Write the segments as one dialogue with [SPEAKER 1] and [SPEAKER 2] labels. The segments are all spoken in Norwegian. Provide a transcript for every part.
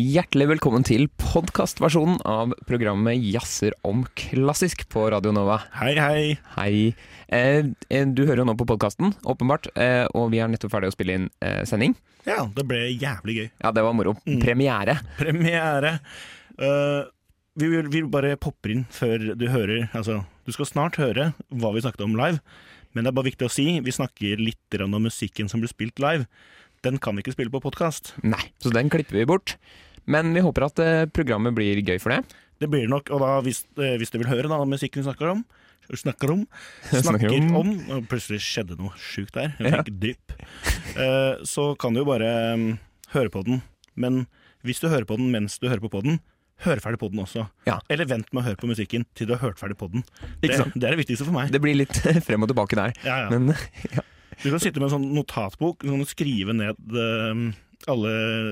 [SPEAKER 1] Hjertelig velkommen til podkastversjonen av programmet Jazzer om klassisk på Radio Nova.
[SPEAKER 2] Hei, hei.
[SPEAKER 1] Hei. Eh, eh, du hører jo nå på podkasten, åpenbart, eh, og vi er nettopp ferdig å spille inn eh, sending.
[SPEAKER 2] Ja, det ble jævlig gøy.
[SPEAKER 1] Ja, det var moro. Premiere.
[SPEAKER 2] Premiere. Eh, vi, vil, vi bare popper inn før du hører Altså, du skal snart høre hva vi snakket om live, men det er bare viktig å si vi snakker litt grann om musikken som blir spilt live. Den kan vi ikke spille på podkast.
[SPEAKER 1] Nei, så den klipper vi bort. Men vi håper at eh, programmet blir gøy for det.
[SPEAKER 2] Det blir det nok, og da hvis, eh, hvis du vil høre da, musikken vi snakker om Snakker om.
[SPEAKER 1] Snakker
[SPEAKER 2] Snakker
[SPEAKER 1] om.
[SPEAKER 2] om. og Plutselig skjedde noe sjukt der. Jeg fikk drypp. Eh, så kan du jo bare mm, høre på den. Men hvis du hører på den mens du hører på podden, hør ferdig på den også.
[SPEAKER 1] Ja.
[SPEAKER 2] Eller vent med å høre på musikken til du har hørt ferdig på den. Det,
[SPEAKER 1] Ikke sant?
[SPEAKER 2] det er det viktigste for meg.
[SPEAKER 1] Det blir litt frem og tilbake der.
[SPEAKER 2] ja, ja.
[SPEAKER 1] Men ja.
[SPEAKER 2] Du kan sitte med en sånn notatbok og skrive ned eh, alle,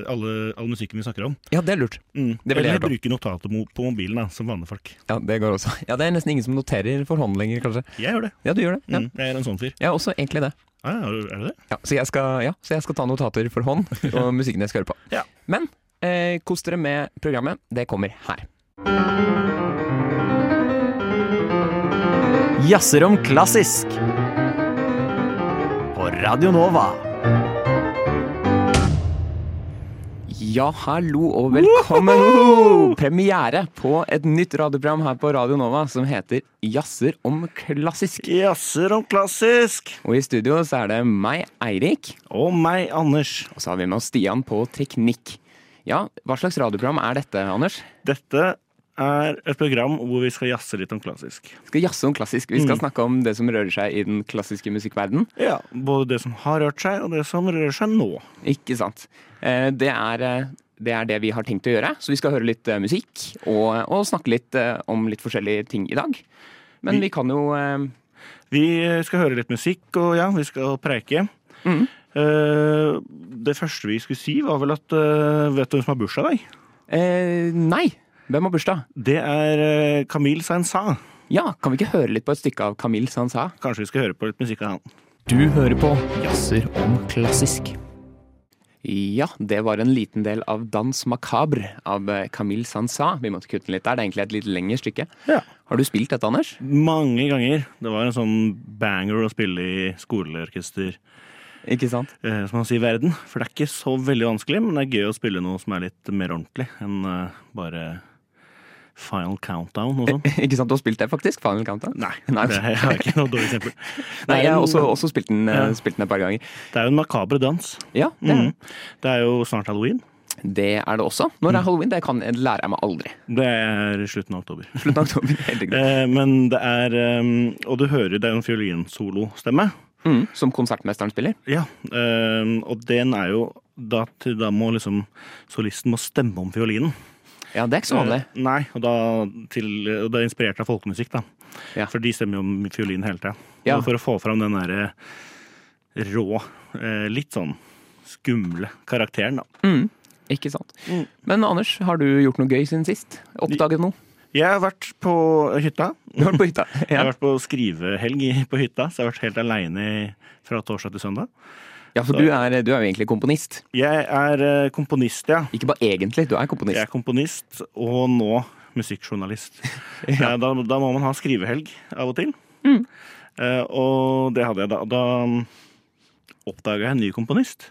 [SPEAKER 2] alle, all musikken vi snakker om.
[SPEAKER 1] ja, det er lurt.
[SPEAKER 2] Mm.
[SPEAKER 1] Det vil jeg
[SPEAKER 2] Eller
[SPEAKER 1] gjøre da.
[SPEAKER 2] bruke notater mo- på mobilen, da, som vanlige folk.
[SPEAKER 1] Ja, det går også. Ja, det er nesten ingen som noterer for hånd lenger, kanskje.
[SPEAKER 2] Jeg gjør det.
[SPEAKER 1] Ja, du gjør det. Ja.
[SPEAKER 2] Mm. Jeg er en sånn fyr.
[SPEAKER 1] Jeg er også egentlig det.
[SPEAKER 2] Ah, ja, er det det?
[SPEAKER 1] Ja, så jeg skal, ja, så jeg skal ta notater for hånd, og musikken jeg skal høre på.
[SPEAKER 2] Ja.
[SPEAKER 1] Men eh, kos dere med programmet. Det kommer her.
[SPEAKER 3] Jazzer om klassisk. På Radio Nova.
[SPEAKER 1] Ja, hallo og velkommen! Woho! Premiere på et nytt radioprogram her på Radio Nova som heter Jazzer om klassisk.
[SPEAKER 2] Jazzer om klassisk.
[SPEAKER 1] Og i studio så er det meg, Eirik,
[SPEAKER 2] Og meg, Anders.
[SPEAKER 1] og så har vi med oss Stian på teknikk. Ja, hva slags radioprogram er dette, Anders?
[SPEAKER 2] Dette er et program hvor vi skal jazze litt om klassisk.
[SPEAKER 1] Vi skal jazze om klassisk. Vi skal snakke om det som rører seg i den klassiske musikkverdenen.
[SPEAKER 2] Ja, Både det som har rørt seg, og det som rører seg nå.
[SPEAKER 1] Ikke sant. Eh, Det er, eh, det er det vi har tenkt å gjøre. Så vi skal høre litt eh, musikk og, og snakke litt eh, om litt forskjellige ting i dag. Men vi, kan jo eh,
[SPEAKER 2] Vi skal høre litt musikk, og ja, vi skal preike. Mm.
[SPEAKER 1] Mhm.
[SPEAKER 2] Eh, det første vi skulle si, var vel at eh, Vet du hvem som har bursdag i dag?
[SPEAKER 1] eh, Nei! Hvem har bursdag?
[SPEAKER 2] Det er eh, Camille Saint-Saëns.
[SPEAKER 1] Ja, kan vi ikke høre litt på et stykke av Camille Sansa?
[SPEAKER 2] Kanskje vi skal høre på litt musikk av han.
[SPEAKER 1] Du hører på Jazzer om klassisk. Ja, det var en liten del av Dans Macabre av eh, Camille Sansa. Vi måtte kutte den litt der. Det er egentlig et litt lengre stykke.
[SPEAKER 2] Ja.
[SPEAKER 1] Har du spilt dette, Anders?
[SPEAKER 2] Mange ganger. Det var en sånn banger å spille i skoleorkester.
[SPEAKER 1] Ikke sant?
[SPEAKER 2] eh, som man sier, verden. For det er ikke så veldig vanskelig, men det er gøy å spille noe som er litt mer ordentlig enn eh, bare Final Countdown og sånn.
[SPEAKER 1] Ikke sant, Du har spilt det, faktisk? Final Countdown?
[SPEAKER 2] Nei,
[SPEAKER 1] Nei.
[SPEAKER 2] det er ikke noe dårlig eksempel.
[SPEAKER 1] Nei, jeg har også,
[SPEAKER 2] det
[SPEAKER 1] også spilt, den, eh,
[SPEAKER 2] Ja.
[SPEAKER 1] spilt den et par ganger.
[SPEAKER 2] er jo en makaber dans.
[SPEAKER 1] Ja, det, er
[SPEAKER 2] Mm. Det er jo snart halloween.
[SPEAKER 1] det. det er det også. Når det
[SPEAKER 2] Mm.
[SPEAKER 1] er halloween, det kan, det lærer jeg meg aldri.
[SPEAKER 2] Det er i slutten av oktober.
[SPEAKER 1] Slutten av oktober. helt riktig.
[SPEAKER 2] Eh, Men det er eh, Og du hører det er jo en fiolinsolo-stemme.
[SPEAKER 1] Mm, som konsertmesteren spiller.
[SPEAKER 2] Ja. eh, Og den er jo da, til- da må liksom solisten må stemme om fiolinen.
[SPEAKER 1] Ja, det er ikke så vanlig.
[SPEAKER 2] Eh, Nei, og, da til, og det er inspirert av folkemusikk, da.
[SPEAKER 1] Ja.
[SPEAKER 2] For de stemmer jo om fiolin hele tida.
[SPEAKER 1] Ja.
[SPEAKER 2] Og For å få fram den derre rå, eh, litt sånn skumle karakteren, da.
[SPEAKER 1] Mm, ikke sant.
[SPEAKER 2] Eh. Mm.
[SPEAKER 1] Men Anders, har du gjort noe gøy siden sist? Oppdaget noe?
[SPEAKER 2] Jeg har vært på hytta.
[SPEAKER 1] Du har vært på hytta?
[SPEAKER 2] Jeg har
[SPEAKER 1] Ja.
[SPEAKER 2] vært på skrivehelg i- på hytta, så jeg har vært helt aleine fra torsdag til søndag.
[SPEAKER 1] ja, for du er, du er jo egentlig komponist.
[SPEAKER 2] Jeg er eh, komponist, ja.
[SPEAKER 1] Ikke bare egentlig, du er komponist.
[SPEAKER 2] Jeg er komponist, og nå musikkjournalist. Eh, Da, da må man ha skrivehelg av og til.
[SPEAKER 1] Mm.
[SPEAKER 2] Eh, og det hadde jeg da. Da oppdaga jeg en ny komponist.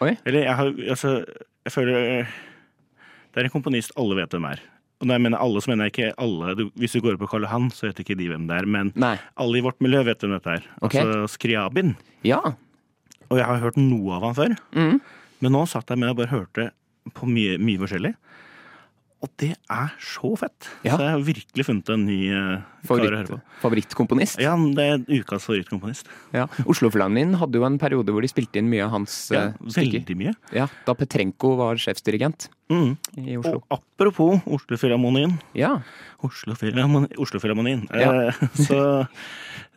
[SPEAKER 1] Oi.
[SPEAKER 2] Eller jeg har Altså, jeg føler eh, Det er en komponist alle vet hvem er. Og når jeg mener alle, så mener jeg ikke alle. Du, hvis du går opp på Karl Johan, så vet ikke de hvem det er. Men
[SPEAKER 1] Nei.
[SPEAKER 2] alle i vårt miljø vet hvem dette er.
[SPEAKER 1] Ok.
[SPEAKER 2] Altså Skriabin.
[SPEAKER 1] Ja.
[SPEAKER 2] Og jeg har hørt noe av han før.
[SPEAKER 1] Mm.
[SPEAKER 2] Men nå satt jeg med og bare hørte på mye, mye forskjellig. Og det er så fett!
[SPEAKER 1] Ja.
[SPEAKER 2] Så jeg har virkelig funnet en ny eh, kar å
[SPEAKER 1] Favoritt,
[SPEAKER 2] høre på.
[SPEAKER 1] favorittkomponist.
[SPEAKER 2] Ja, det er ukas favorittkomponist.
[SPEAKER 1] Ja. Oslofilharmonien hadde jo en periode hvor de spilte inn mye av hans
[SPEAKER 2] Ja,
[SPEAKER 1] eh, stykker.
[SPEAKER 2] veldig mye.
[SPEAKER 1] Ja, da Petrenko var sjefsdirigent
[SPEAKER 2] Mm.
[SPEAKER 1] i Oslo.
[SPEAKER 2] Og apropos Oslofilharmonien
[SPEAKER 1] Ja.
[SPEAKER 2] Oslofilharmonien, Oslofilharmonien.
[SPEAKER 1] Ja.
[SPEAKER 2] Eh, så,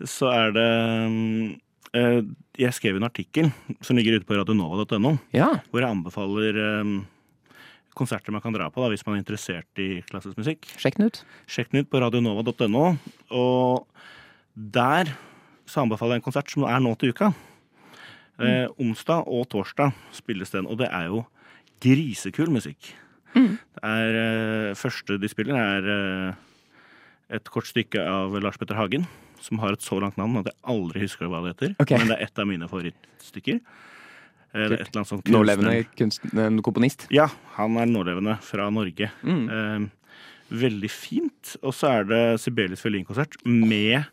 [SPEAKER 2] så er det mm, eh, Jeg skrev en artikkel som ligger ute på radionova.no,
[SPEAKER 1] ja.
[SPEAKER 2] hvor jeg anbefaler eh, konserter man kan dra på da, hvis man er interessert i klassisk musikk.
[SPEAKER 1] Sjekk den ut.
[SPEAKER 2] Sjekk den ut på radionova.no. Og der så anbefaler jeg en konsert som er nå til uka. Eh, onsdag og torsdag spilles den, og det er jo grisekul musikk. Det er, eh, første de spiller, er eh, et kort stykke av Lars Petter Hagen, som har et så langt navn at jeg aldri husker hva det heter.
[SPEAKER 1] Ok.
[SPEAKER 2] Men det er et av mine favorittstykker. Eh, Det er et eller annet sånt
[SPEAKER 1] Nålevende kunstn- en komponist.
[SPEAKER 2] Ja, han er nålevende fra Norge.
[SPEAKER 1] Mm.
[SPEAKER 2] Eh, veldig fint. Og så er det Sibelius fiolinkonsert med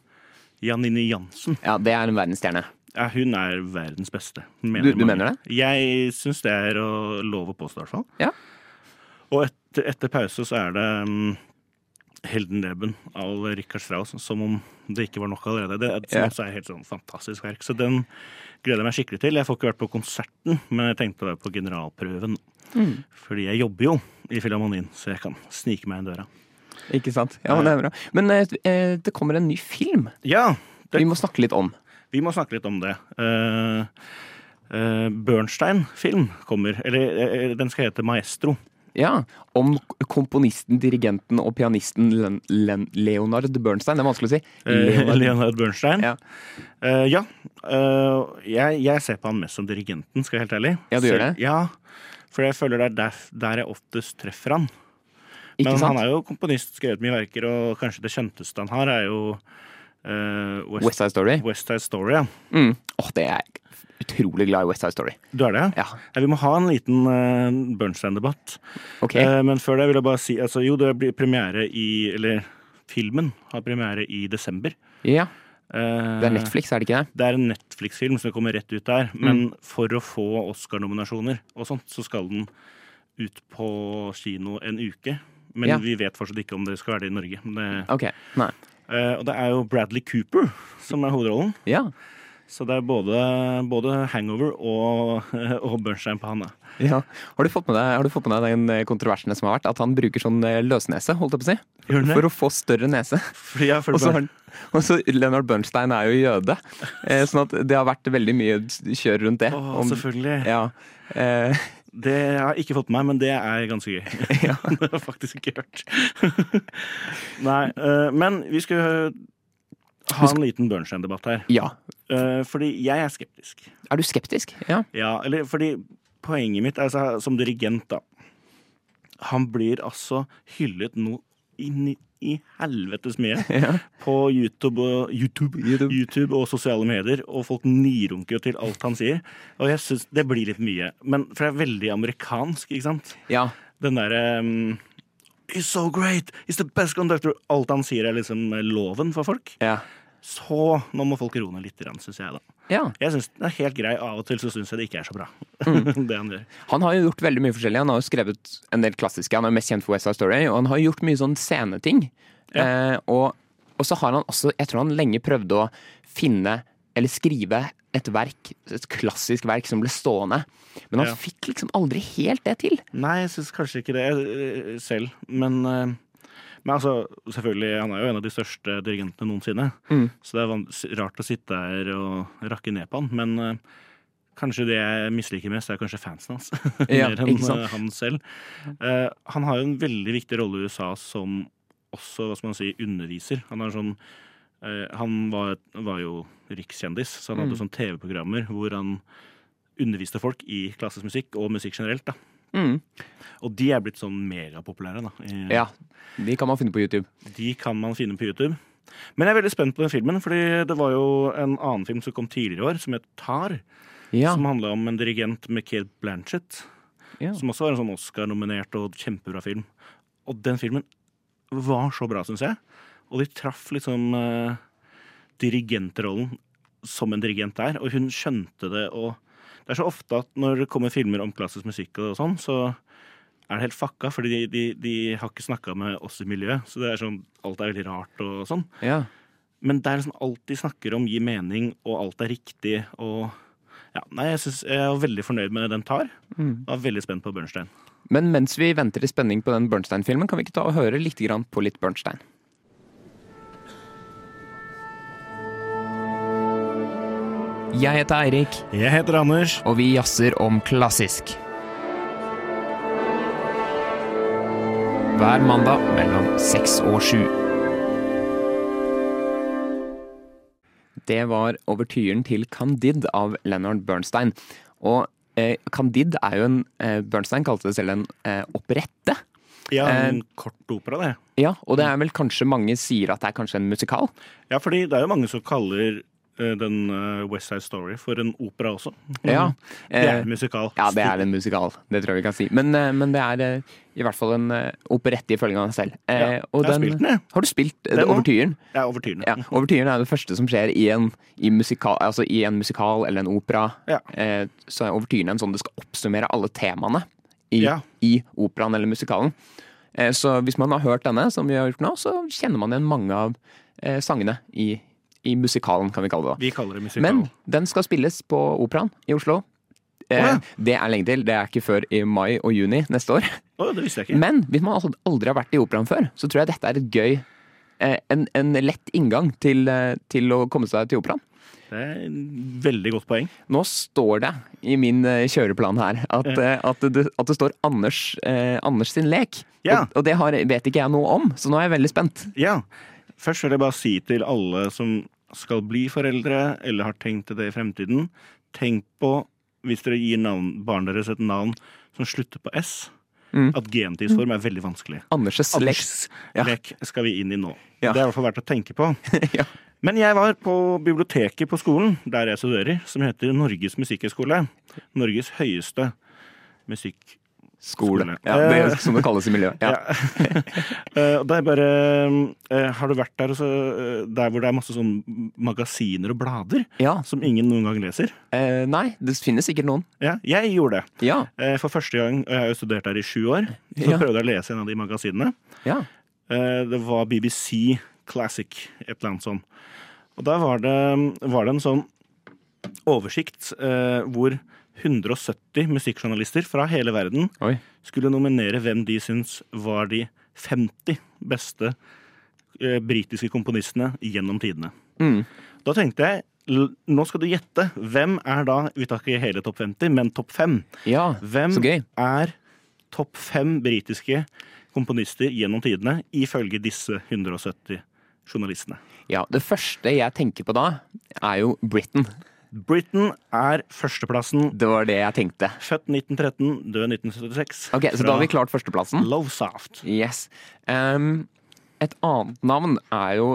[SPEAKER 2] Janine Jansen.
[SPEAKER 1] Ja, det er en verdensstjerne.
[SPEAKER 2] Ja, hun er verdens beste.
[SPEAKER 1] Du- du
[SPEAKER 2] mange.
[SPEAKER 1] mener det?
[SPEAKER 2] Jeg syns det er å lov å påstå, i hvert fall.
[SPEAKER 1] Ja.
[SPEAKER 2] Og etter, etter pause så er det mm, Heldenleben av Richard Strauss, som om det ikke var nok allerede. Det er, som
[SPEAKER 1] Ja.
[SPEAKER 2] også er helt sånn fantastisk verk. Så den gleder jeg meg skikkelig til. Jeg får ikke vært på konserten, men jeg tenkte å være på generalprøven. Fordi jeg jobber jo i Filharmonien, så jeg kan snike meg inn døra.
[SPEAKER 1] Ikke sant? Ja, men det er bra. Men eh, eh, det kommer en ny film
[SPEAKER 2] Ja, det,
[SPEAKER 1] vi må snakke litt om.
[SPEAKER 2] vi må snakke litt om det. Eh, eh, Bernstein-film kommer. Eller eh, den skal hete Maestro.
[SPEAKER 1] Ja, Om k- komponisten, dirigenten og pianisten Len Len Leonard Bernstein. Det er vanskelig å si.
[SPEAKER 2] Eh,
[SPEAKER 1] Leonard-
[SPEAKER 2] Leonard Bernstein.
[SPEAKER 1] Ja.
[SPEAKER 2] Eh, ja. Eh, jeg, jeg ser på han mest som dirigenten, skal jeg være helt ærlig.
[SPEAKER 1] Ja, du gjør
[SPEAKER 2] Selv-
[SPEAKER 1] det?
[SPEAKER 2] Ja, for jeg føler det er der, der jeg oftest treffer han.
[SPEAKER 1] Ikke
[SPEAKER 2] Men
[SPEAKER 1] sant?
[SPEAKER 2] han er jo komponist, skrevet mye verker, og kanskje det kjenteste han har, er jo eh, West,
[SPEAKER 1] West Side Story.
[SPEAKER 2] West Side Story. Ja.
[SPEAKER 1] Mm. Åh, det er jeg utrolig glad i West Side Story.
[SPEAKER 2] Du er det?
[SPEAKER 1] Ja,
[SPEAKER 2] Ja, vi må ha en liten eh, Bernstein-debatt.
[SPEAKER 1] ok.
[SPEAKER 2] Eh, men før det vil jeg bare si altså, Jo, det blir premiere i Eller filmen har premiere i desember.
[SPEAKER 1] ja,
[SPEAKER 2] Eh,
[SPEAKER 1] det er Netflix, Mm. er det ikke det?
[SPEAKER 2] Det er en Netflix-film som kommer rett ut der, men for å få Oscar-nominasjoner og sånt, så skal den ut på kino en uke. Men
[SPEAKER 1] Ja.
[SPEAKER 2] vi vet fortsatt ikke om det skal være det i Norge. Men Det,
[SPEAKER 1] Ok, nei.
[SPEAKER 2] eh, og det er jo Bradley Cooper som er hovedrollen.
[SPEAKER 1] Ja,
[SPEAKER 2] Så det er både, både Hangover og, og Bernstein på han. da.
[SPEAKER 1] ja. Har, du fått med deg, har du fått med deg den eh, kontroversen som har vært? At han bruker sånn eh, løsnese, holdt jeg på å si?
[SPEAKER 2] Gjør han det?
[SPEAKER 1] For å få større nese.
[SPEAKER 2] Fordi jeg
[SPEAKER 1] Og
[SPEAKER 2] føler
[SPEAKER 1] så
[SPEAKER 2] bare-
[SPEAKER 1] har han og så Leonard Bernstein er jo jøde, eh, sånn at det har vært veldig mye kjør rundt det.
[SPEAKER 2] Å,
[SPEAKER 1] Om-
[SPEAKER 2] selvfølgelig.
[SPEAKER 1] Ja. Eh,
[SPEAKER 2] Det har jeg ikke fått med meg, men det er ganske gøy.
[SPEAKER 1] Ja.
[SPEAKER 2] det har jeg faktisk ikke hørt. Nei, eh, men vi skal eh, ha en liten Bernstein-debatt her.
[SPEAKER 1] ja.
[SPEAKER 2] Eh, Fordi jeg er skeptisk.
[SPEAKER 1] Er du skeptisk? Ja.
[SPEAKER 2] Ja, eller fordi poenget mitt er altså, som dirigent, da. Han blir altså hyllet noe inn i, i helvetes mye
[SPEAKER 1] Ja.
[SPEAKER 2] på YouTube og, YouTube,
[SPEAKER 1] YouTube.
[SPEAKER 2] YouTube. og sosiale medier, og folk nirunker jo til alt han sier. Og jeg syns det blir litt mye. Men, for det er veldig amerikansk, ikke sant?
[SPEAKER 1] ja.
[SPEAKER 2] Den derre um, He's so great! He's the best conductor! Alt han sier, er liksom loven for folk.
[SPEAKER 1] Ja.
[SPEAKER 2] Så nå må folk roe ned litt, syns jeg, da.
[SPEAKER 1] ja.
[SPEAKER 2] Jeg synes den er helt grei. Av og til så syns jeg det ikke er så bra. det han gjør.
[SPEAKER 1] Han har jo gjort veldig mye forskjellig. Han har jo skrevet en del klassiske. Han er mest kjent for West Side Story, og han har gjort mye sånn sceneting. Eh, og, og så har han også Jeg tror han lenge prøvde å finne, eller skrive, et verk, et klassisk verk som ble stående. Men han
[SPEAKER 2] Ja.
[SPEAKER 1] fikk liksom aldri helt det til.
[SPEAKER 2] Nei, jeg syns kanskje ikke det eh, selv, men eh, men altså, selvfølgelig, han er jo en av de største dirigentene noensinne. Så det er van- s- rart å sitte her og rakke ned på han. Men eh, kanskje det jeg misliker mest, er kanskje fansen hans.
[SPEAKER 1] Ja,
[SPEAKER 2] Mer enn
[SPEAKER 1] ikke sant?
[SPEAKER 2] eh, han selv. Eh, han har jo en veldig viktig rolle i USA som også, hva skal man si, underviser. Han er sånn eh, Han var, var jo rikskjendis, så han
[SPEAKER 1] Mm.
[SPEAKER 2] hadde sånn TV-programmer hvor han underviste folk i klassisk musikk og musikk generelt. da.
[SPEAKER 1] Mm.
[SPEAKER 2] Og de er blitt sånn megapopulære. da. i-
[SPEAKER 1] Ja, De kan man finne på YouTube.
[SPEAKER 2] De kan man finne på YouTube. Men jeg er veldig spent på den filmen, fordi det var jo en annen film som kom tidligere i år, som het Tar.
[SPEAKER 1] Ja.
[SPEAKER 2] Som handla om en dirigent med Kate Blanchett,
[SPEAKER 1] ja.
[SPEAKER 2] som også var en sånn Oscar-nominert og kjempebra film. Og den filmen var så bra, syns jeg. Og de traff liksom eh, dirigentrollen som en dirigent der, og hun skjønte det og Det er så ofte at når det kommer filmer om klassisk musikk og sånn, så er det helt fucka, fordi de, de, de har ikke snakka med oss i miljøet. Så det er sånn, alt er veldig rart og sånn.
[SPEAKER 1] ja.
[SPEAKER 2] Men det er liksom alt de snakker om, gir mening, og alt er riktig. og... Ja, nei, jeg, synes, jeg er veldig fornøyd med den tar.
[SPEAKER 1] Mm.
[SPEAKER 2] Jeg var veldig spent på Bernstein.
[SPEAKER 1] Men mens vi venter i spenning på den Bernstein-filmen, kan vi ikke ta og høre litt grann på litt Bernstein? Jeg heter Eirik,
[SPEAKER 2] Jeg heter Anders.
[SPEAKER 1] og vi jazzer om klassisk. Hver mandag mellom seks og sju. Det var overtyren til Candide av Leonard Bernstein. Og eh, Candide er jo en eh, Bernstein kalte det selv en eh, operette.
[SPEAKER 2] Ja, en
[SPEAKER 1] Eh,
[SPEAKER 2] kort opera, det.
[SPEAKER 1] Ja, og det er vel kanskje mange sier at det er kanskje en musikal.
[SPEAKER 2] Ja, fordi det er jo mange som kaller eh, den eh, West Side Story for en opera også. Mm.
[SPEAKER 1] Ja,
[SPEAKER 2] Det er
[SPEAKER 1] eh,
[SPEAKER 2] en musikal.
[SPEAKER 1] ja det er en musikal. Det tror jeg vi kan si. Men, eh, men det er eh, i hvert fall en eh, operette ifølge han selv. Eh,
[SPEAKER 2] Ja,
[SPEAKER 1] og
[SPEAKER 2] jeg har spilt den, jeg.
[SPEAKER 1] Har du spilt eh,
[SPEAKER 2] Den Mm. også.
[SPEAKER 1] Overtyren?
[SPEAKER 2] Jeg er overtydende.
[SPEAKER 1] Ja, Overtyren er det første som skjer i en, i musikal, altså i en musikal eller en opera.
[SPEAKER 2] Ja.
[SPEAKER 1] Eh, så er Overtyren en sånn det skal oppsummere alle temaene i,
[SPEAKER 2] Ja.
[SPEAKER 1] i operaen eller musikalen. Eh, så hvis man har hørt denne, som vi har gjort nå, så kjenner man igjen mange av eh, sangene i, i musikalen, kan vi kalle det. da.
[SPEAKER 2] Vi kaller det musikal.
[SPEAKER 1] Men den skal spilles på Operaen i Oslo. Eh,
[SPEAKER 2] Å, ja.
[SPEAKER 1] Det er lenge til. Det er ikke før i mai og juni neste år.
[SPEAKER 2] Å, det visste jeg ikke.
[SPEAKER 1] Men hvis man al- aldri har vært i Operaen før, så tror jeg dette er et gøy eh, en, en lett inngang til, eh, til å komme seg til Operaen.
[SPEAKER 2] Det er et veldig godt poeng.
[SPEAKER 1] Nå står det i min eh, kjøreplan her at, eh, at, det, at det står Anders, eh, Anders sin lek.
[SPEAKER 2] Ja.
[SPEAKER 1] Og, og det har, vet ikke jeg noe om, så nå er jeg veldig spent.
[SPEAKER 2] Ja. Først vil jeg bare si til alle som skal bli foreldre, eller har tenkt til det i fremtiden, tenk på, hvis dere gir navn, barnet deres et navn som slutter på S,
[SPEAKER 1] Mm.
[SPEAKER 2] at gentidsform er veldig vanskelig.
[SPEAKER 1] Anders' lek.
[SPEAKER 2] Anders
[SPEAKER 1] Ja.
[SPEAKER 2] lek skal vi inn i nå.
[SPEAKER 1] Ja.
[SPEAKER 2] Det er i hvert fall verdt å tenke på.
[SPEAKER 1] Ja.
[SPEAKER 2] Men jeg var på biblioteket på skolen, der jeg studerer, som heter Norges musikkhøgskole. Norges høyeste musikk...
[SPEAKER 1] Skole.
[SPEAKER 2] Skole.
[SPEAKER 1] Ja, det, er som det kalles i miljøet. Ja.
[SPEAKER 2] Eh, og det er bare eh, Har du vært der, og så, eh, der hvor det er masse sånn magasiner og blader
[SPEAKER 1] Ja.
[SPEAKER 2] som ingen noen gang leser?
[SPEAKER 1] Eh, nei, det finnes sikkert noen.
[SPEAKER 2] Ja, jeg gjorde det.
[SPEAKER 1] Ja.
[SPEAKER 2] Eh, for første gang, og jeg har jo studert der i sju år, så
[SPEAKER 1] Ja.
[SPEAKER 2] prøvde jeg å lese en av de magasinene.
[SPEAKER 1] ja.
[SPEAKER 2] Eh, Det var BBC Classic, et eller annet sånt. Og da var det, var det en sånn oversikt eh, hvor 170 musikkjournalister fra hele verden
[SPEAKER 1] Oi.
[SPEAKER 2] skulle nominere hvem de syns var de 50 beste eh, britiske komponistene gjennom tidene.
[SPEAKER 1] Mm.
[SPEAKER 2] Da tenkte jeg l- nå skal du gjette. Hvem er da Vi tar ikke hele topp 50, men topp 5.
[SPEAKER 1] Ja,
[SPEAKER 2] Hvem
[SPEAKER 1] så gøy.
[SPEAKER 2] er topp fem britiske komponister gjennom tidene, ifølge disse 170 journalistene?
[SPEAKER 1] Ja, det første jeg tenker på da, er jo Britain.
[SPEAKER 2] Britain er førsteplassen.
[SPEAKER 1] Det var det jeg tenkte.
[SPEAKER 2] Født 1913, død 1976.
[SPEAKER 1] Ok, Så da har vi klart førsteplassen.
[SPEAKER 2] Lovesoft.
[SPEAKER 1] Yes. Ehm, et annet navn er jo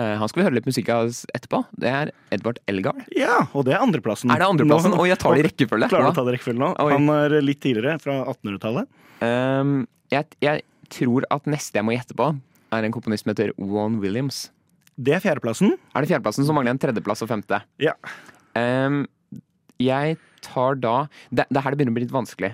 [SPEAKER 1] eh, Han skal vi høre litt musikk av s- etterpå. Det er Edvard Elgar.
[SPEAKER 2] Ja, og det er andreplassen.
[SPEAKER 1] Er det andreplassen?
[SPEAKER 2] Nå-
[SPEAKER 1] Oi, jeg tar det i rekkefølge.
[SPEAKER 2] Klarer du å
[SPEAKER 1] Ja.
[SPEAKER 2] ta det i rekkefølge nå?
[SPEAKER 1] Oi.
[SPEAKER 2] Han er litt tidligere, fra 1800-tallet.
[SPEAKER 1] Ehm, jeg, jeg tror at neste jeg må gjette på, er en komponist som heter Wan Williams.
[SPEAKER 2] Det er fjerdeplassen.
[SPEAKER 1] Er det fjerdeplassen, så mangler jeg en tredjeplass og femte.
[SPEAKER 2] Ja.
[SPEAKER 1] Ehm, jeg tar da Det, det her det begynner å bli litt vanskelig.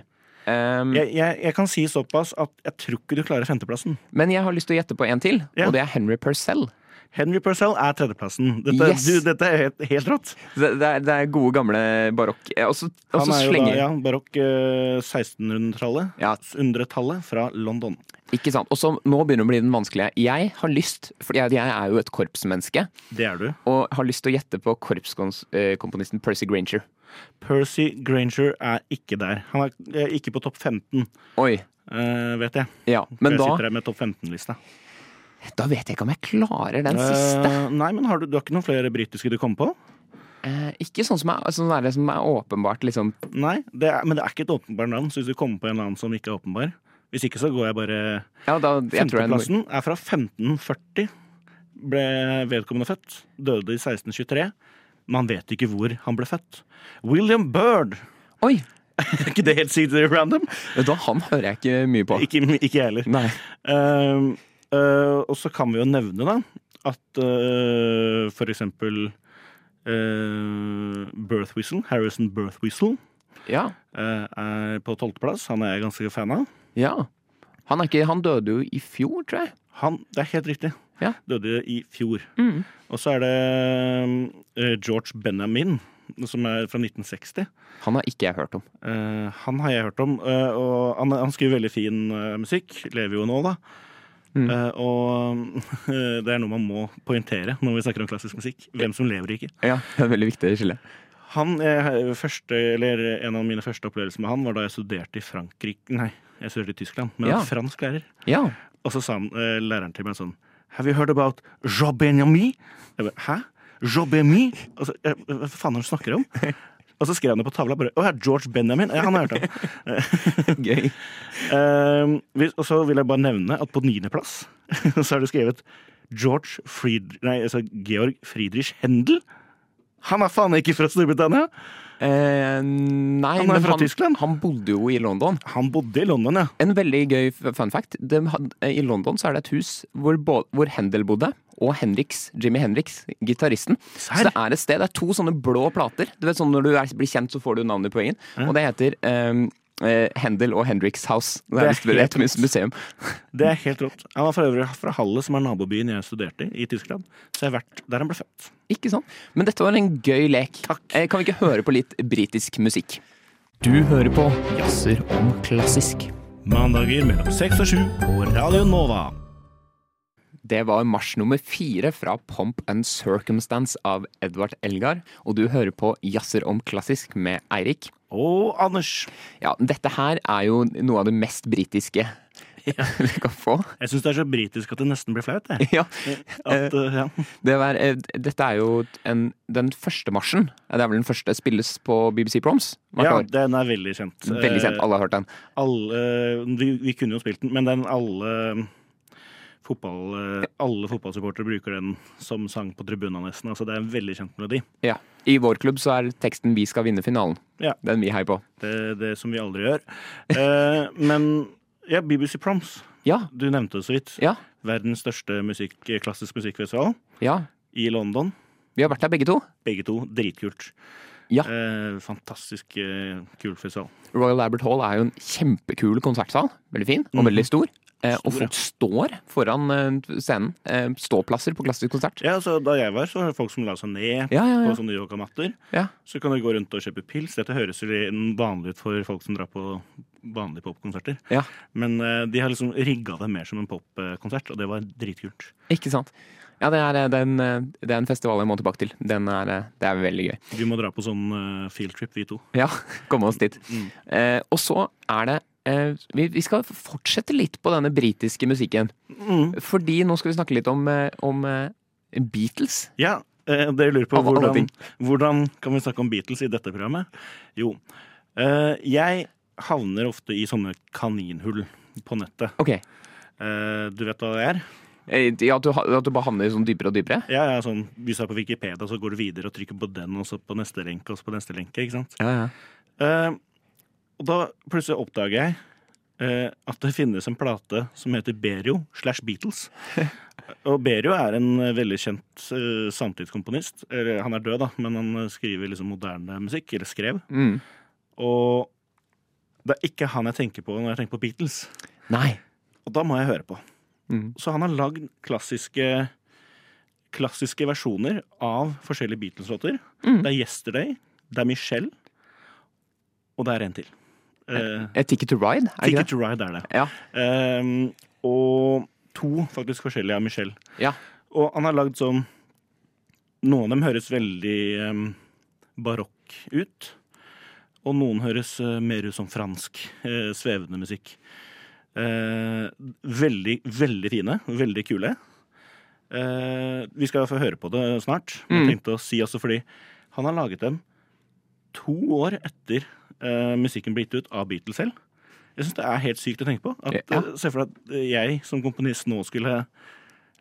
[SPEAKER 1] Ehm,
[SPEAKER 2] Jeg, jeg, jeg kan si såpass at jeg tror ikke du klarer femteplassen.
[SPEAKER 1] Men jeg har lyst til å gjette på en til,
[SPEAKER 2] Ja.
[SPEAKER 1] og det er Henry Purcell.
[SPEAKER 2] Henry Purcell er tredjeplassen. Dette,
[SPEAKER 1] Yes.
[SPEAKER 2] du, dette er helt, helt rått.
[SPEAKER 1] Det, det, er, det er gode, gamle barokk. Og så og
[SPEAKER 2] Han
[SPEAKER 1] så
[SPEAKER 2] er jo da
[SPEAKER 1] slenger
[SPEAKER 2] ja, barokk eh, 1600-tallet.
[SPEAKER 1] Ja.
[SPEAKER 2] 1600-tallet fra London.
[SPEAKER 1] Ikke sant. Og så nå begynner det å bli den vanskelige. Jeg har lyst, for jeg, jeg er jo et korpsmenneske,
[SPEAKER 2] Det er du.
[SPEAKER 1] og har lyst til å gjette på korpskomponisten Percy Granger.
[SPEAKER 2] Percy Granger er ikke der. Han er eh, ikke på topp 15,
[SPEAKER 1] Oi.
[SPEAKER 2] eh, vet jeg.
[SPEAKER 1] Ja. Men
[SPEAKER 2] jeg
[SPEAKER 1] da,
[SPEAKER 2] sitter her med topp 15-lista.
[SPEAKER 1] da vet jeg ikke om jeg klarer den siste.
[SPEAKER 2] Eh, nei, men har du, du har ikke noen flere britiske du kom på?
[SPEAKER 1] Eh, ikke sånn som er, sånn er, det som er åpenbart liksom
[SPEAKER 2] Nei, det er, men det er ikke et åpenbart navn, så hvis du kommer på en eller annen som ikke er åpenbar Hvis ikke så går jeg bare
[SPEAKER 1] ja, da, jeg tror jeg,
[SPEAKER 2] Femteplassen er fra 1540. Ble vedkommende født. Døde i 1623. Man vet ikke hvor han ble født. William Byrd!
[SPEAKER 1] Oi!
[SPEAKER 2] Er ikke det helt sykt random?
[SPEAKER 1] Da, han hører jeg ikke mye på.
[SPEAKER 2] Ikke, ikke jeg heller.
[SPEAKER 1] Nei.
[SPEAKER 2] Ehm, eh, og så kan vi jo nevne da at eh, for eksempel eh, Birth Whistle, Harrison Birth Whistle,
[SPEAKER 1] Ja.
[SPEAKER 2] eh, er på tolvteplass. Han er jeg ganske fan av.
[SPEAKER 1] ja. Han, er ikke, han døde jo i fjor, tror jeg.
[SPEAKER 2] Han, det er helt riktig.
[SPEAKER 1] Ja.
[SPEAKER 2] Døde i fjor.
[SPEAKER 1] Mm.
[SPEAKER 2] Og så er det eh, George Benjamin, som er fra 1960.
[SPEAKER 1] Han har ikke jeg hørt om.
[SPEAKER 2] Eh, han har jeg hørt om, eh, og han, han skriver veldig fin eh, musikk. Lever jo nå, da.
[SPEAKER 1] Mm.
[SPEAKER 2] Eh, og eh, det er noe man må poengtere når vi snakker om klassisk musikk. Hvem som lever og ikke.
[SPEAKER 1] Ja, det er veldig viktig skille.
[SPEAKER 2] Han, eh, første, eller En av mine første opplevelser med han var da jeg studerte i Frankrike Nei, jeg studerte i Tyskland, men
[SPEAKER 1] Ja.
[SPEAKER 2] en fransk lærer.
[SPEAKER 1] Ja.
[SPEAKER 2] Og så sa han, eh, læreren til meg sånn Have you heard about eh, Jean Benjamin? Jeg bare, Hæ? Jean Benjamin? Altså, jeg, hva faen er det du snakker om? Og så skrev han det på tavla. bare, Å, her er George Benjamin. Ja, han har hørt om.
[SPEAKER 1] Gøy.
[SPEAKER 2] Ehm, vi- og så vil jeg bare nevne at på niendeplass så har du skrevet George Fried, nei, altså Georg Friedrich Händel. Han er faen ikke fra Storbritannia!
[SPEAKER 1] Eh, nei,
[SPEAKER 2] Han er
[SPEAKER 1] men
[SPEAKER 2] fra Tyskland.
[SPEAKER 1] han bodde jo i London.
[SPEAKER 2] Han bodde i London, ja.
[SPEAKER 1] En veldig gøy f- fun fact. De had, I London så er det et hus hvor, bå- hvor Händel bodde, og Henriks, Jimmy Henriks, gitaristen. Så det er et sted, det er to sånne blå plater. Du vet sånn Når du er, blir kjent, så får du navnet på egen. Og det heter um, Händel og Henriks House. Det
[SPEAKER 2] Det
[SPEAKER 1] er,
[SPEAKER 2] er
[SPEAKER 1] visst bare
[SPEAKER 2] helt
[SPEAKER 1] et mus- museum.
[SPEAKER 2] Det er helt rått. Han var for øvrig fra Halle, som er nabobyen jeg studerte i i Tyskland. Så jeg har vært der han ble født.
[SPEAKER 1] Ikke sant? Men dette var en gøy lek. Eh, Kan vi ikke høre på litt britisk musikk? Du hører på Jazzer om klassisk.
[SPEAKER 2] Mandager mellom seks og sju på Radio Nova.
[SPEAKER 1] Det var mars nummer fire fra Pomp and Circumstance av Edvard Elgar. Og du hører på Jazzer om klassisk med Eirik.
[SPEAKER 2] Og Anders.
[SPEAKER 1] Ja, dette her er jo noe av det mest britiske du kan få.
[SPEAKER 2] Jeg syns det er så britisk at det nesten blir flaut. jeg.
[SPEAKER 1] Ja,
[SPEAKER 2] At, eh, ja.
[SPEAKER 1] det var, eh, dette er jo en, den første marsjen. Det er vel den første spilles på BBC Proms? hvert
[SPEAKER 2] ja,
[SPEAKER 1] år.
[SPEAKER 2] den er veldig kjent.
[SPEAKER 1] Veldig kjent,
[SPEAKER 2] Eh,
[SPEAKER 1] alle har hørt den.
[SPEAKER 2] alle vi, vi kunne jo spilt den, men den alle fotball, eh, alle fotballsupportere bruker den som sang på tribunen nesten. Altså, det er en veldig kjent melodi.
[SPEAKER 1] Ja. I vår klubb så er teksten 'Vi skal vinne finalen'.
[SPEAKER 2] Ja.
[SPEAKER 1] Den vi heier på.
[SPEAKER 2] Det, det som vi aldri gjør. Eh, men ja, BBC Proms.
[SPEAKER 1] Ja.
[SPEAKER 2] Du nevnte det så vidt.
[SPEAKER 1] Ja.
[SPEAKER 2] Verdens største musikk, klassisk musikkfestival
[SPEAKER 1] ja.
[SPEAKER 2] i London.
[SPEAKER 1] Vi har vært der begge to.
[SPEAKER 2] Begge to dritkult.
[SPEAKER 1] Ja.
[SPEAKER 2] Eh, fantastisk eh, kul festival.
[SPEAKER 1] Royal Albert Hall er jo en kjempekul konsertsal. Veldig fin og veldig stor. Eh, og
[SPEAKER 2] Stor, ja.
[SPEAKER 1] folk står foran eh, scenen. Eh, ståplasser på klassisk konsert.
[SPEAKER 2] Ja, så Da jeg var, så var det folk som la seg ned
[SPEAKER 1] Ja, ja,
[SPEAKER 2] på
[SPEAKER 1] ja.
[SPEAKER 2] sånne yogamatter.
[SPEAKER 1] ja.
[SPEAKER 2] Så kan du gå rundt og kjøpe pils. Dette høres jo vanlig ut for folk som drar på vanlige popkonserter.
[SPEAKER 1] ja.
[SPEAKER 2] Men eh, de har liksom rigga det mer som en popkonsert, og det var dritkult.
[SPEAKER 1] Ikke sant. Ja, det er, eh, den, eh, det er en festival jeg må tilbake til. Den er, eh, det er veldig gøy.
[SPEAKER 2] Vi må dra på sånn eh, fieldtrip, vi to.
[SPEAKER 1] Ja, komme oss dit. Eh, og så er det eh, vi, vi skal fortsette litt på denne britiske musikken. Mm. Fordi nå skal vi snakke litt om, eh, om eh, Beatles.
[SPEAKER 2] Ja, eh, dere lurer på
[SPEAKER 1] Av alle
[SPEAKER 2] hvordan,
[SPEAKER 1] ting.
[SPEAKER 2] hvordan kan vi snakke om Beatles i dette programmet? Jo, eh, jeg havner ofte i sånne kaninhull på nettet.
[SPEAKER 1] Ok.
[SPEAKER 2] Eh, du vet hva det er?
[SPEAKER 1] Eh, Ja, at du, ha- at du bare havner sånn dypere og dypere?
[SPEAKER 2] Ja, ja, sånn, Hvis du er på Wikipedia, så går du videre og trykker på den, og så på neste lenke, og så på neste lenke. ikke sant?
[SPEAKER 1] Ja, ja.
[SPEAKER 2] Eh, og da plutselig oppdager jeg eh, at det finnes en plate som heter Berio slash Beatles. Og Berio er en eh, veldig kjent eh, samtidskomponist. Eller, han er død, da, men han eh, skriver liksom moderne musikk. Eller skrev.
[SPEAKER 1] Mm.
[SPEAKER 2] Og det er ikke han jeg tenker på når jeg tenker på Beatles.
[SPEAKER 1] Nei.
[SPEAKER 2] Og da må jeg høre på.
[SPEAKER 1] Mhm.
[SPEAKER 2] Så han har lagd klassiske Klassiske versjoner av forskjellige Beatles-låter.
[SPEAKER 1] Mm.
[SPEAKER 2] Det er 'Yesterday', det er 'Michelle', og det er en til. Eh,
[SPEAKER 1] Eh, Ticket to Ride? Er det ikke det?
[SPEAKER 2] Ticket to Ride er det.
[SPEAKER 1] Ja.
[SPEAKER 2] Ehm, og to faktisk forskjellige av Michelle.
[SPEAKER 1] ja.
[SPEAKER 2] Og han har lagd sånn Noen av dem høres veldig ehm, barokk ut. Og noen høres eh, mer ut som fransk eh, svevende musikk. Eh, veldig, veldig fine. Veldig kule. Eh, vi skal få høre på det snart. Men
[SPEAKER 1] Mm.
[SPEAKER 2] tenkte å si også fordi han har laget dem to år etter eh, musikken ble gitt ut av Beatles selv. Jeg syns det er helt sykt å tenke på. At,
[SPEAKER 1] Ja.
[SPEAKER 2] eh, Se for deg at jeg som komponist nå skulle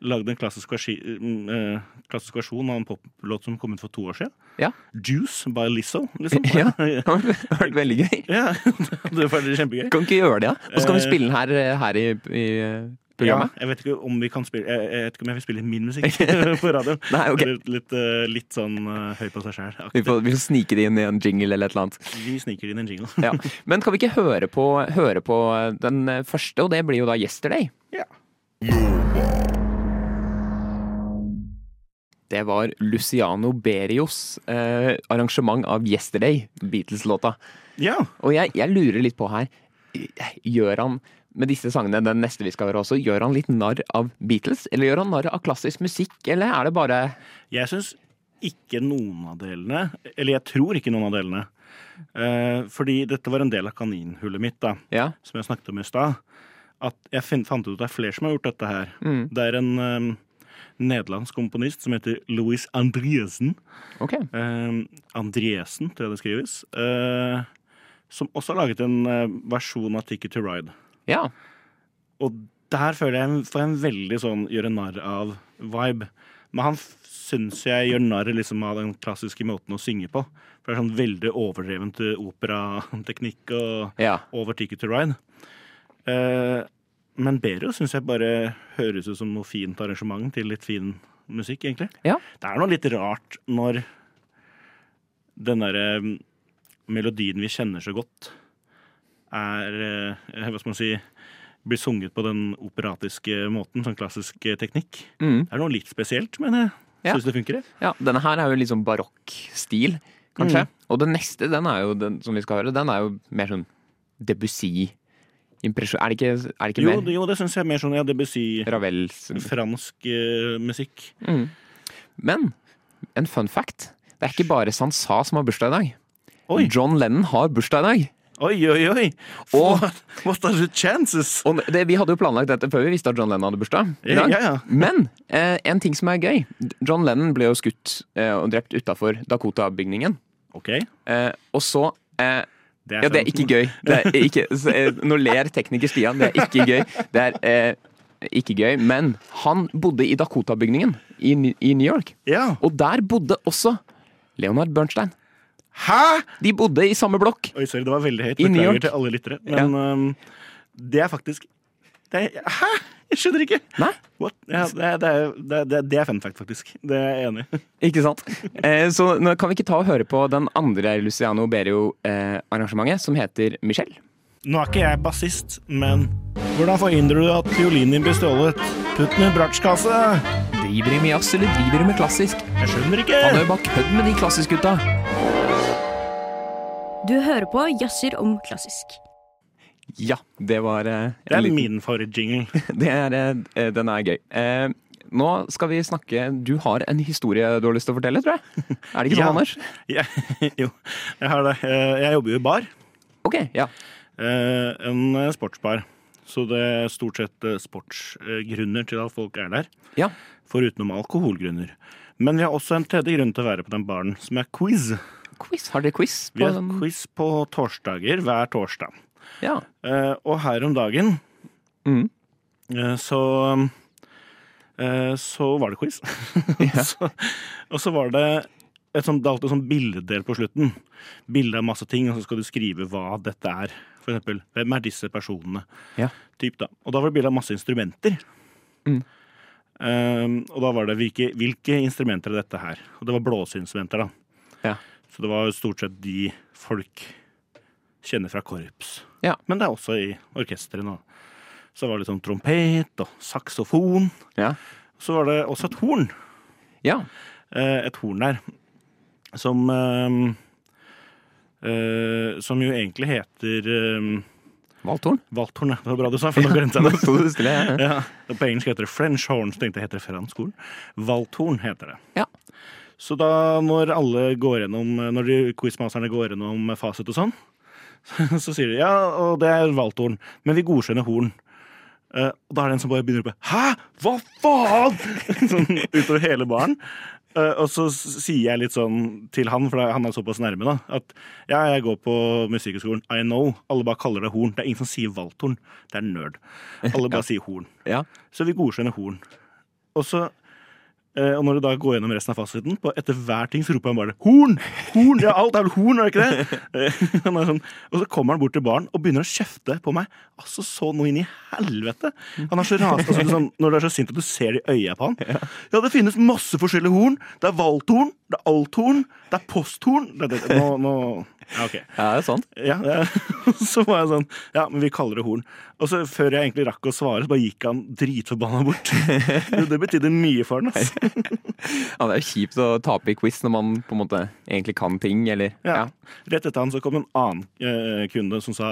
[SPEAKER 2] lagd en klassisk, versi, mm, eh, klassisk versjon av en poplåt som kom ut for to år siden.
[SPEAKER 1] Ja.
[SPEAKER 2] Juice by Lizzo, liksom.
[SPEAKER 1] Ja. Det har vært veldig gøy.
[SPEAKER 2] Ja, det var kjempegøy.
[SPEAKER 1] Kan vi ikke gjøre det, da? Og så kan vi
[SPEAKER 2] Eh.
[SPEAKER 1] spille den her, eh, her i, i eh,
[SPEAKER 2] Ja,
[SPEAKER 1] programmet?
[SPEAKER 2] jeg vet ikke om vi kan spille Jeg, jeg vet ikke om jeg vil spille min musikk på radioen.
[SPEAKER 1] Nei, ok.
[SPEAKER 2] Eller Litt, eh, litt sånn eh, høy på
[SPEAKER 1] Vi
[SPEAKER 2] seg sjæl.
[SPEAKER 1] får, vi får snike det inn i en jingle eller et eller annet.
[SPEAKER 2] Vi sniker inn en jingle.
[SPEAKER 1] Ja. Men kan vi ikke høre på, høre på den eh, første, og det blir jo da 'Yesterday'?
[SPEAKER 2] Ja.
[SPEAKER 1] Det var Luciano Berios eh, arrangement av 'Yesterday', Beatles-låta.
[SPEAKER 2] ja.
[SPEAKER 1] Og jeg, jeg lurer litt på her Gjør han med disse sangene den neste vi skal høre også, gjør han litt narr av Beatles? Eller gjør han narr av klassisk musikk, eller er det bare
[SPEAKER 2] Jeg syns ikke noen av delene Eller jeg tror ikke noen av delene. Eh, fordi dette var en del av kaninhullet mitt, da,
[SPEAKER 1] Ja.
[SPEAKER 2] som jeg snakket om i stad. At jeg fin- fant ut at det er flere som har gjort dette her.
[SPEAKER 1] Mm.
[SPEAKER 2] Det er en eh, nederlandsk komponist som heter Louis Andriesen.
[SPEAKER 1] Ok.
[SPEAKER 2] Eh, Andriesen, tror jeg det skrives. Eh, som også har laget en eh, versjon av Ticket to Ride.
[SPEAKER 1] Ja.
[SPEAKER 2] Og der føler jeg får jeg en veldig sånn gjøre narr av-vibe. Men han syns jeg gjør narr liksom av den klassiske måten å synge på. For det er sånn veldig overdreven til operateknikk og
[SPEAKER 1] ja.
[SPEAKER 2] over Ticket to Ride. Eh, men Bero syns jeg bare høres ut som noe fint arrangement til litt fin musikk, egentlig.
[SPEAKER 1] Ja.
[SPEAKER 2] Det er noe litt rart når den derre mm, melodien vi kjenner så godt, er eh, Hva skal man si Blir sunget på den operatiske måten, sånn klassisk eh, teknikk.
[SPEAKER 1] Mm.
[SPEAKER 2] Det er noe litt spesielt, men jeg
[SPEAKER 1] Ja.
[SPEAKER 2] syns det funker. jeg.
[SPEAKER 1] ja. Denne her er jo litt sånn barokk-stil, kanskje.
[SPEAKER 2] Mm.
[SPEAKER 1] Og den neste, den er jo den som vi skal høre, den er jo mer sånn Debussy. Impresjon Er det ikke, er det ikke
[SPEAKER 2] Jo,
[SPEAKER 1] mer
[SPEAKER 2] det- jo, det syns jeg er mer sånn ja, Debussy,
[SPEAKER 1] Ravels
[SPEAKER 2] fransk eh, musikk.
[SPEAKER 1] Men en fun fact. Det er ikke bare Sansa som har bursdag i dag.
[SPEAKER 2] Oi.
[SPEAKER 1] John Lennon har bursdag i dag.
[SPEAKER 2] Oi, oi, oi!
[SPEAKER 1] Og-
[SPEAKER 2] What, what are the chances?
[SPEAKER 1] Og det, vi hadde jo planlagt dette før vi visste at John Lennon hadde bursdag. i
[SPEAKER 2] Ja,
[SPEAKER 1] dag.
[SPEAKER 2] ja, ja.
[SPEAKER 1] Men eh, en ting som er gøy. John Lennon ble jo skutt eh, og drept utafor Dakota-bygningen.
[SPEAKER 2] OK.
[SPEAKER 1] Eh, og så eh,
[SPEAKER 2] Det
[SPEAKER 1] Ja, det er
[SPEAKER 2] sant.
[SPEAKER 1] ikke gøy. Det er ikke, så, eh, nå ler tekniker Stian. Det er ikke gøy. Det er eh, ikke gøy. Men han bodde i Dakota-bygningen i, Ny- i New York.
[SPEAKER 2] Ja.
[SPEAKER 1] Og der bodde også Leonard Bernstein.
[SPEAKER 2] Hæ?!
[SPEAKER 1] De bodde i samme blokk.
[SPEAKER 2] Oi, sorry, det var veldig høyt.
[SPEAKER 1] I New York.
[SPEAKER 2] Beklager til alle lyttere. Men øhm, det er faktisk det er, Hæ?! Jeg skjønner ikke!
[SPEAKER 1] Nei?
[SPEAKER 2] What? Ja, det, er- det, er- det, er- det er fun fact, faktisk. Det er jeg enig i.
[SPEAKER 1] Ikke sant? Eh, så nå kan vi ikke ta og høre på den andre Luciano Berio-arrangementet, som heter Michelle.
[SPEAKER 2] Nå er ikke jeg bassist, men hvordan forhindrer du at fiolinen din blir stjålet? Putt den i bratsjkasse!
[SPEAKER 1] Driver de med jazz, eller driver de med klassisk?
[SPEAKER 2] Jeg skjønner ikke!
[SPEAKER 1] Han er jo bare kødd med de klassisk-gutta.
[SPEAKER 4] Du hører på Jazzer om klassisk.
[SPEAKER 1] Ja, det var eh,
[SPEAKER 2] Det
[SPEAKER 1] en
[SPEAKER 2] er
[SPEAKER 1] liten-
[SPEAKER 2] min favorittjingle.
[SPEAKER 1] det er, eh, Den er gøy. Eh, nå skal vi snakke Du har en historie du har lyst til å fortelle, tror jeg? Er det ikke sånn,
[SPEAKER 2] Ja.
[SPEAKER 1] Anders?
[SPEAKER 2] Jeg- Jo, jeg har det. Eh, Jeg jobber jo i bar.
[SPEAKER 1] Ok, ja.
[SPEAKER 2] Eh, En eh, sportsbar. Så det er stort sett eh, sportsgrunner til at folk er der.
[SPEAKER 1] ja.
[SPEAKER 2] forutenom alkoholgrunner. Men vi har også en tredje grunn til å være på den baren, som er quiz.
[SPEAKER 1] Quiz. Har dere quiz?
[SPEAKER 2] Vi
[SPEAKER 1] På
[SPEAKER 2] har
[SPEAKER 1] den?
[SPEAKER 2] quiz på torsdager hver torsdag.
[SPEAKER 1] Ja.
[SPEAKER 2] Eh, og her om dagen
[SPEAKER 1] Mm.
[SPEAKER 2] eh, så eh, Så var det quiz. så, og så var det et sånt, det er alltid en sånn bildedel på slutten. Bilde av masse ting, og så skal du skrive hva dette er. For eksempel, hvem er disse personene?
[SPEAKER 1] Ja.
[SPEAKER 2] Typ da. Og da var det bilde av masse instrumenter.
[SPEAKER 1] Mm.
[SPEAKER 2] Ehm, og da var det hvilke, hvilke instrumenter er dette her? Og det var blåseinstrumenter, da.
[SPEAKER 1] Ja.
[SPEAKER 2] Så det var stort sett de folk kjenner fra korps.
[SPEAKER 1] Ja.
[SPEAKER 2] Men det er også i orkesteret nå. Så var det sånn trompet og saksofon.
[SPEAKER 1] Ja.
[SPEAKER 2] Så var det også et horn.
[SPEAKER 1] ja.
[SPEAKER 2] Eh, et horn der som eh, eh, Som jo egentlig heter eh,
[SPEAKER 1] Valthorn?
[SPEAKER 2] valthorn. ja. Det var bra du sa, for da glemte jeg det.
[SPEAKER 1] Sto du stille? Ja.
[SPEAKER 2] Ja, og På engelsk heter det French horn, så tenkte jeg heter det fransk horn. Valthorn heter det.
[SPEAKER 1] Ja.
[SPEAKER 2] Så da når alle går gjennom, når de quizmasterne går gjennom fasit og sånn, så sier de ja, og det er valthorn, men vi godkjenner horn. Eh, og da er det en som bare begynner å rope 'hæ, hva faen?' sånn utover hele baren. Eh, og så s- sier jeg litt sånn til han, for da- han er såpass nærme, da, at ja, jeg går på Musikkhøgskolen, I know. Alle bare kaller det horn. Det er ingen som sier valthorn. Det er nerd. Alle bare sier horn.
[SPEAKER 1] ja.
[SPEAKER 2] Så vi godkjenner horn. Og så eh, og når du da går gjennom resten av fasiten, på etter hver ting så roper han bare 'horn! Horn!' Ja, alt er vel horn, er det ikke det? Eh, han er sånn, og så kommer han bort til baren og begynner å kjefte på meg. Altså så noe inn i helvete! Han er så rasende altså, sånn, når du er så sint at du ser det i øya på han. Ja, det finnes masse forskjellige horn. Det er valthorn, det er althorn, det er posthorn det, det, Nå, nå Ja, OK.
[SPEAKER 1] ja, det er sant.
[SPEAKER 2] Ja, ja. Så var jeg sånn Ja, men vi kaller det horn. Og så før jeg egentlig rakk å svare, så bare gikk han dritforbanna bort. Jo, Det betydde mye for han, ass.
[SPEAKER 1] Ja, det er jo kjipt å tape i quiz når man på en måte egentlig kan ting, eller
[SPEAKER 2] Ja.
[SPEAKER 1] ja.
[SPEAKER 2] Rett etter han så kom en annen eh, kunde som sa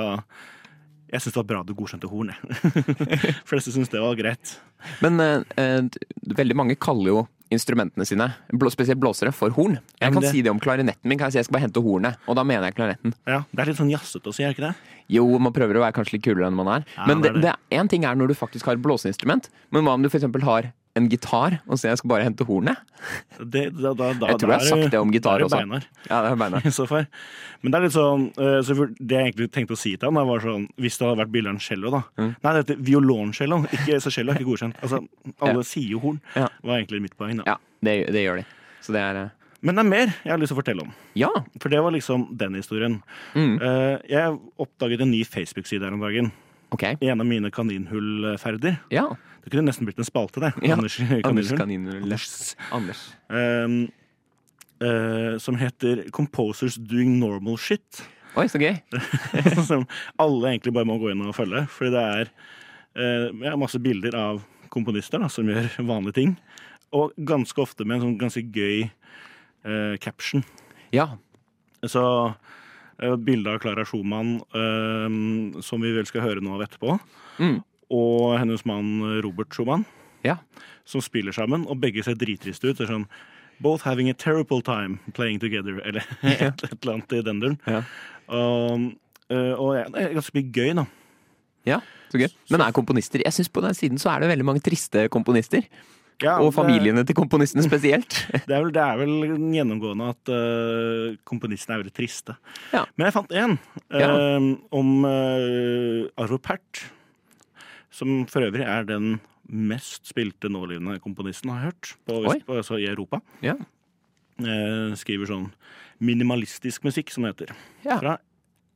[SPEAKER 2] Jeg syns det var bra du godkjente horn, jeg. Fleste syns det var greit.
[SPEAKER 1] Men eh, eh, veldig mange kaller jo instrumentene sine, blå, spesielt blåsere, for horn.
[SPEAKER 2] Ja,
[SPEAKER 1] Jeg
[SPEAKER 2] men
[SPEAKER 1] kan
[SPEAKER 2] det-
[SPEAKER 1] si det om klarinetten min. Kan jeg si jeg skal bare hente hornet? Og da mener jeg klarinetten.
[SPEAKER 2] Ja, Det er litt sånn jazzete å si, er det ikke det?
[SPEAKER 1] Jo, man prøver å være kanskje litt kulere enn man er.
[SPEAKER 2] Ja,
[SPEAKER 1] men
[SPEAKER 2] det
[SPEAKER 1] det, det
[SPEAKER 2] er
[SPEAKER 1] er én ting er når du faktisk har et blåseinstrument, men hva om du f.eks. har en gitar og si jeg skal bare hente hornet.
[SPEAKER 2] Det, da, da, da,
[SPEAKER 1] Jeg tror jeg har
[SPEAKER 2] da er
[SPEAKER 1] sagt det om gitar
[SPEAKER 2] da er
[SPEAKER 1] også.
[SPEAKER 2] beinar.
[SPEAKER 1] Ja, det er beina.
[SPEAKER 2] i så fall. Men det er litt sånn eh, så for- Det jeg egentlig tenkte å si til han, da, var sånn Hvis det hadde vært billigere enn cello, da.
[SPEAKER 1] Mm.
[SPEAKER 2] Nei, det heter violoncello. Ikke, så cello er ikke godkjent. Altså, alle
[SPEAKER 1] Ja.
[SPEAKER 2] sier jo horn,
[SPEAKER 1] Ja.
[SPEAKER 2] var egentlig mitt poeng. da
[SPEAKER 1] Ja, det, det gjør de. Så det er eh,
[SPEAKER 2] Men det er mer jeg har lyst til å fortelle om.
[SPEAKER 1] Ja!
[SPEAKER 2] For det var liksom den historien.
[SPEAKER 1] Mm.
[SPEAKER 2] Eh, jeg oppdaget en ny Facebook-side her om dagen.
[SPEAKER 1] Ok.
[SPEAKER 2] I en av mine kaninhullferder.
[SPEAKER 1] Ja.
[SPEAKER 2] Det kunne nesten blitt en spalte, det.
[SPEAKER 1] Ja.
[SPEAKER 2] Anders
[SPEAKER 1] Anders
[SPEAKER 2] Kaninhull.
[SPEAKER 1] Kaninrulle. Anders.
[SPEAKER 2] Ehm, eh, som heter Composers Doing Normal Shit.
[SPEAKER 1] Oi, så gøy.
[SPEAKER 2] som alle egentlig bare må gå inn og følge. Fordi det er eh, ja, masse bilder av komponister da, som gjør vanlige ting. Og ganske ofte med en sånn ganske gøy eh, caption.
[SPEAKER 1] Ja.
[SPEAKER 2] Så eh, bilde av Klara Schumann, eh, som vi vel skal høre noe av etterpå.
[SPEAKER 1] Mm.
[SPEAKER 2] Og hennes mann eh, Robert Schumann,
[SPEAKER 1] Ja.
[SPEAKER 2] som spiller sammen. Og begge ser drittriste ut. Det er sånn Both having a terrible time playing together, eller et, et eller annet i den duren.
[SPEAKER 1] Ja.
[SPEAKER 2] Og, eh, og ja, det er ganske mye gøy, da.
[SPEAKER 1] Ja, så gøy. Men er komponister Jeg synes på den siden så er det veldig mange triste komponister.
[SPEAKER 2] Ja,
[SPEAKER 1] Og
[SPEAKER 2] det-
[SPEAKER 1] familiene til komponistene spesielt.
[SPEAKER 2] Det er vel, det er vel gjennomgående at eh, komponistene er veldig triste.
[SPEAKER 1] Ja.
[SPEAKER 2] Men jeg fant en eh,
[SPEAKER 1] Ja.
[SPEAKER 2] om uh, Arvo Pärt, som for øvrig er den mest spilte nålevende komponisten jeg har hørt på,
[SPEAKER 1] Oi.
[SPEAKER 2] på, altså i Europa.
[SPEAKER 1] Ja.
[SPEAKER 2] Eh, skriver sånn minimalistisk musikk, som det heter.
[SPEAKER 1] Ja.
[SPEAKER 2] Fra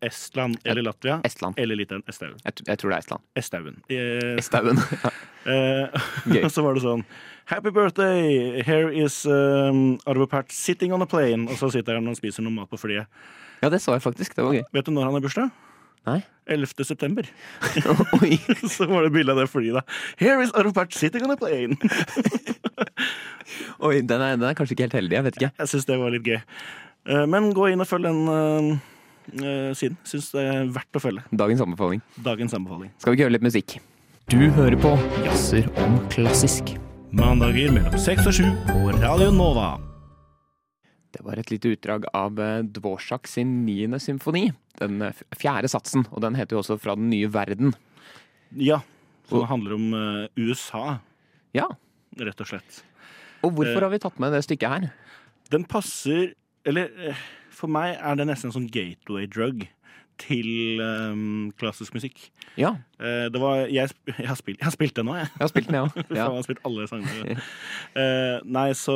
[SPEAKER 2] Estland eller Latvia.
[SPEAKER 1] Estland.
[SPEAKER 2] Eller Litauen. Estauen.
[SPEAKER 1] Jeg, tr- jeg tror det er Estland.
[SPEAKER 2] Estauen. Eh,
[SPEAKER 1] Estauen. Ja.
[SPEAKER 2] Eh,
[SPEAKER 1] Gøy.
[SPEAKER 2] og så var det sånn Happy birthday! Here is um, Arve Pärt sitting on a plane. Og så sitter han og spiser noe mat på flyet.
[SPEAKER 1] ja, det så jeg faktisk. Det var gøy.
[SPEAKER 2] Vet du når han har bursdag?
[SPEAKER 1] Nei?
[SPEAKER 2] 11. september.
[SPEAKER 1] Oi.
[SPEAKER 2] Så var det bilde av det flyet, da. Here is Arve Pärt sitting on a plane.
[SPEAKER 1] Oi, den er, den er kanskje ikke helt heldig. Jeg vet ikke.
[SPEAKER 2] Jeg syns det var litt gøy. Eh, men gå inn og følg den eh, eh, siden. Syns det er verdt å følge.
[SPEAKER 1] Dagens anbefaling.
[SPEAKER 2] Dagens anbefaling.
[SPEAKER 1] Skal vi ikke høre litt musikk? Du hører på Jazzer om klassisk.
[SPEAKER 2] Mandager mellom seks og sju på Radio Nova.
[SPEAKER 1] Det var et lite utdrag av eh, Dvorak sin niende symfoni. Den eh, f- fjerde satsen, og den heter jo også Fra den nye verden.
[SPEAKER 2] Ja. Så det handler om eh, USA,
[SPEAKER 1] Ja,
[SPEAKER 2] rett og slett.
[SPEAKER 1] og
[SPEAKER 2] Eh.
[SPEAKER 1] hvorfor har vi tatt med det stykket her?
[SPEAKER 2] Den passer Eller eh, for meg er det nesten en sånn gateway drug til eh, klassisk musikk.
[SPEAKER 1] Ja,
[SPEAKER 2] Eh, det var Jeg, sp- jeg, har, spilt, jeg har spilt det nå, jeg.
[SPEAKER 1] jeg har spilt den, jeg
[SPEAKER 2] Faen,
[SPEAKER 1] òg. Ja.
[SPEAKER 2] Jeg har spilt alle sangene. Eh, nei, så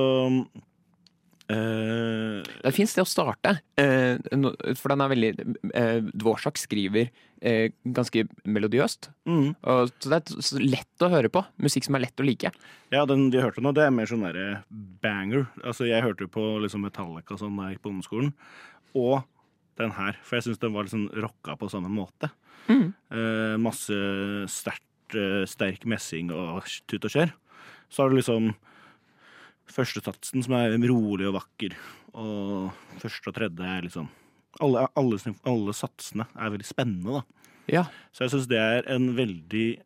[SPEAKER 2] eh,
[SPEAKER 1] Det er et fint sted å starte, eh, no- for den er veldig eh, Dvorak skriver eh, ganske melodiøst.
[SPEAKER 2] mm,
[SPEAKER 1] Og, så det er t- så lett å høre på. Musikk som er lett å like.
[SPEAKER 2] Ja, den vi hørte nå, det er mer sånn derre banger. Altså, jeg hørte jo på liksom Metallica og sånn da jeg gikk på ungdomsskolen. Og den her, for jeg syns den var liksom rocka på samme måte.
[SPEAKER 1] Mhm.
[SPEAKER 2] Eh, masse sterkt, eh, sterk messing og tut og kjør. Så har du liksom førstetatsen, som er rolig og vakker, og første og tredje er liksom alle, alle, sym- alle satsene er veldig spennende, da.
[SPEAKER 1] Ja.
[SPEAKER 2] Så jeg syns det er en veldig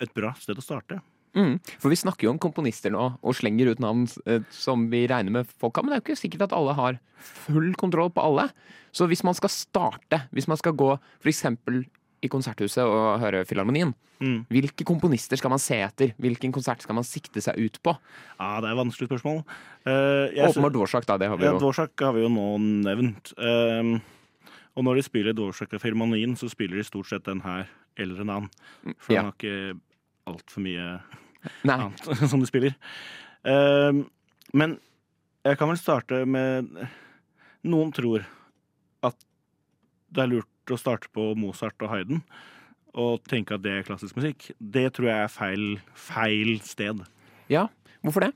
[SPEAKER 2] et bra sted å starte.
[SPEAKER 1] Mm. For vi snakker jo om komponister nå, og slenger ut navn eh, som vi regner med folk har. Men det er jo ikke sikkert at alle har full kontroll på alle. Så hvis man skal starte, hvis man skal gå f.eks. i Konserthuset og høre Filharmonien,
[SPEAKER 2] Mm.
[SPEAKER 1] hvilke komponister skal man se etter? Hvilken konsert skal man sikte seg ut på?
[SPEAKER 2] Ja, det er et vanskelig spørsmål. Eh, jeg
[SPEAKER 1] Åpenbart Dvorsak, da. Det har vi
[SPEAKER 2] Ja,
[SPEAKER 1] jo.
[SPEAKER 2] Dvorsak har vi jo nå nevnt. Ehm, og når de spiller Dvorsak og Firmanien, så spiller de stort sett den her eller en annen. For
[SPEAKER 1] ja.
[SPEAKER 2] den har ikke altfor mye
[SPEAKER 1] Nei.
[SPEAKER 2] annet som de spiller. Ehm, men jeg kan vel starte med Noen tror at det er lurt å starte på Mozart og Hayden og tenke at det er klassisk musikk. Det tror jeg er feil, feil sted.
[SPEAKER 1] Ja, hvorfor det?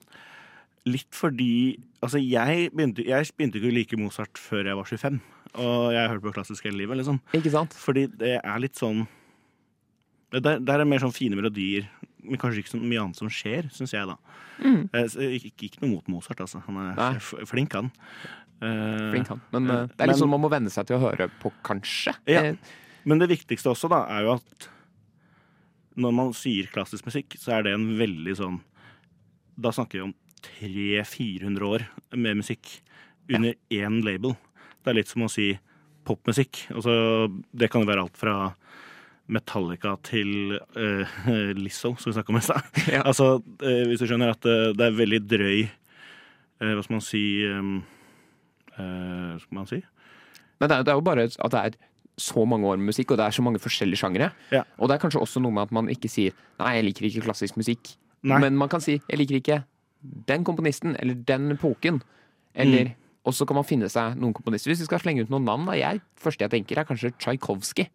[SPEAKER 2] Litt fordi Altså, jeg begynte, jeg begynte ikke å like Mozart før jeg var 25. Og jeg har hørt på klassisk hele livet, liksom.
[SPEAKER 1] Ikke sant?
[SPEAKER 2] Fordi det er litt sånn det Der, der er det mer sånn fine melodier, men kanskje ikke så mye annet som skjer, syns jeg, da.
[SPEAKER 1] Mm.
[SPEAKER 2] Eh, så Ikke, ikke, ikke noe mot Mozart, altså. Han er
[SPEAKER 1] Nei.
[SPEAKER 2] f- flink, han. Eh,
[SPEAKER 1] Flink han. Men
[SPEAKER 2] Ja.
[SPEAKER 1] eh, det er litt
[SPEAKER 2] Men-
[SPEAKER 1] sånn man må venne seg til å høre på, kanskje.
[SPEAKER 2] Ja.
[SPEAKER 1] Eh,
[SPEAKER 2] Men det viktigste også, da, er jo at når man sier klassisk musikk, så er det en veldig sånn Da snakker vi om 300-400 år med musikk under én label. Det er litt som å si popmusikk. Altså, det kan jo være alt fra Metallica til eh, Lizzo, som vi snakka om i stad.
[SPEAKER 1] Ja.
[SPEAKER 2] Altså, eh, hvis du skjønner at eh, det er veldig drøy eh, Hva skal man si um, eh, Skal man si?
[SPEAKER 1] Men det er, det er jo bare at det er så mange år med musikk, og det er så mange forskjellige sjangere.
[SPEAKER 2] Ja.
[SPEAKER 1] Og det er kanskje også noe med at man ikke sier 'nei, jeg liker ikke klassisk musikk',
[SPEAKER 2] Nei.
[SPEAKER 1] men man kan si 'jeg liker ikke den komponisten', eller 'den epoken', eller Og så kan man finne seg noen komponister. Hvis vi skal slenge ut noen navn, da. Jeg, første jeg tenker, er kanskje Tsjajkovskij.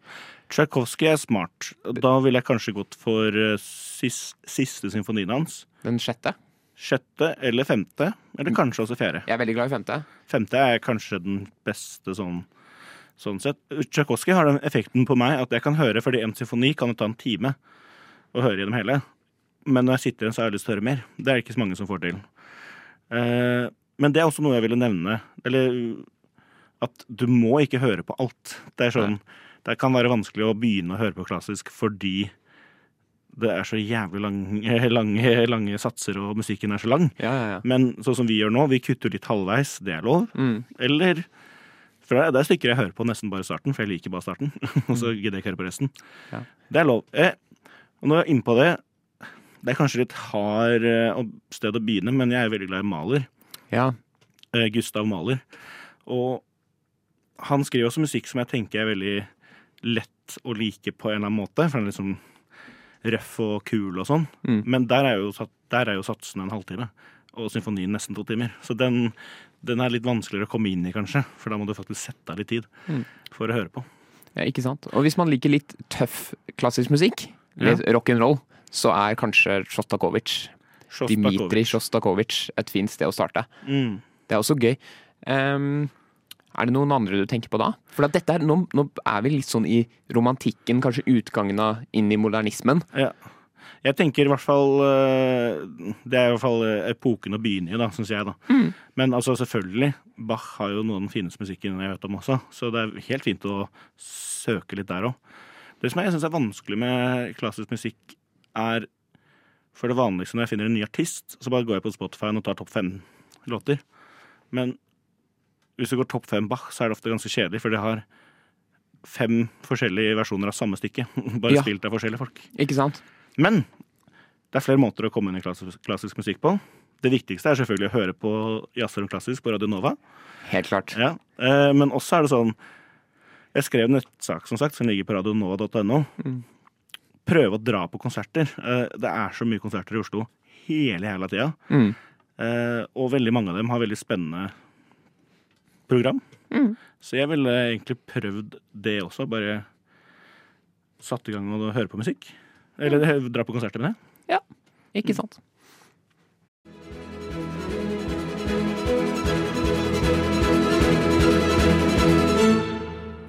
[SPEAKER 2] Tsjajkovskij er smart. Da ville jeg kanskje gått for eh, sis, siste symfonien hans.
[SPEAKER 1] Den sjette.
[SPEAKER 2] Sjette eller femte, eller kanskje også fjerde.
[SPEAKER 1] Jeg er veldig glad i femte.
[SPEAKER 2] Femte er kanskje den beste sånn, sånn sett. Tsjajkovskij har den effekten på meg at jeg kan høre, fordi en symfoni kan det ta en time å høre gjennom hele. Men når jeg sitter igjen, så har jeg lyst til å høre mer. Det er det ikke så mange som får til. Eh, men det er også noe jeg ville nevne. Eller at du må ikke høre på alt. Det er sånn Det kan være vanskelig å begynne å høre på klassisk fordi det er så jævlig lange, lange, lange satser, og musikken er så lang.
[SPEAKER 1] Ja, ja, ja.
[SPEAKER 2] Men sånn som vi gjør nå, vi kutter litt halvveis, det er lov.
[SPEAKER 1] Mm.
[SPEAKER 2] Eller For det er- det er stykker jeg hører på nesten bare starten, for jeg liker bare starten. Og så gidder jeg ikke høre på resten.
[SPEAKER 1] Ja.
[SPEAKER 2] Det er lov. Eh, og når jeg er inne på det Det er kanskje litt hard eh, å- sted å begynne, men jeg er veldig glad i Maler.
[SPEAKER 1] ja.
[SPEAKER 2] Eh, Gustav Maler. Og han skriver også musikk som jeg tenker er veldig lett å like på en eller annen måte. For han er liksom røff og kul og sånn.
[SPEAKER 1] Mm.
[SPEAKER 2] Men der er, jo, sat- der er jo satsen en halvtime, og symfonien nesten to timer. Så den, den er litt vanskeligere å komme inn i, kanskje, for da må du faktisk sette av litt tid
[SPEAKER 1] Mm.
[SPEAKER 2] for å høre på.
[SPEAKER 1] Ja, ikke sant? Og hvis man liker litt tøff klassisk musikk,
[SPEAKER 2] Ja.
[SPEAKER 1] litt rock'n'roll, så er kanskje Sjostakovitsj,
[SPEAKER 2] Sjostakovitsj.
[SPEAKER 1] Dmitrij Sjostakovitsj, et fint sted å starte.
[SPEAKER 2] Mm.
[SPEAKER 1] Det er også gøy. Ehm, er det noen andre du tenker på da? For at dette er, nå, nå er vi litt sånn i romantikken, kanskje utgangen av inn i modernismen.
[SPEAKER 2] Ja. Jeg tenker i hvert fall eh, Det er i hvert fall eh, epoken å begynne i, da, syns jeg. da. Men altså, selvfølgelig, Bach har jo noe av den fineste musikken jeg vet om også, så det er helt fint å søke litt der òg. Det som jeg syns er vanskelig med klassisk musikk, er for det vanligste når jeg finner en ny artist, så bare går jeg på Spotify og tar topp fem låter. Men hvis du går topp fem Bach, så er det ofte ganske kjedelig, for det har fem forskjellige versjoner av samme stykke, bare
[SPEAKER 1] Ja.
[SPEAKER 2] spilt av forskjellige folk.
[SPEAKER 1] Ikke sant?
[SPEAKER 2] Men det er flere måter å komme inn i klassisk, klassisk musikk på. Det viktigste er selvfølgelig å høre på jazzer og klassisk på Radio Nova.
[SPEAKER 1] Helt klart.
[SPEAKER 2] Ja. Eh, men også er det sånn Jeg skrev en nettsak som sagt, som ligger på radionova.no. Prøve å dra på konserter. Eh, det er så mye konserter i Oslo hele jævla tida.
[SPEAKER 1] Mm.
[SPEAKER 2] Eh, og veldig mange av dem har veldig spennende program. Så jeg ville egentlig prøvd det også. Bare satt i gang og høre på musikk. Eller dra på konserter med det.
[SPEAKER 1] Ja, ikke sant.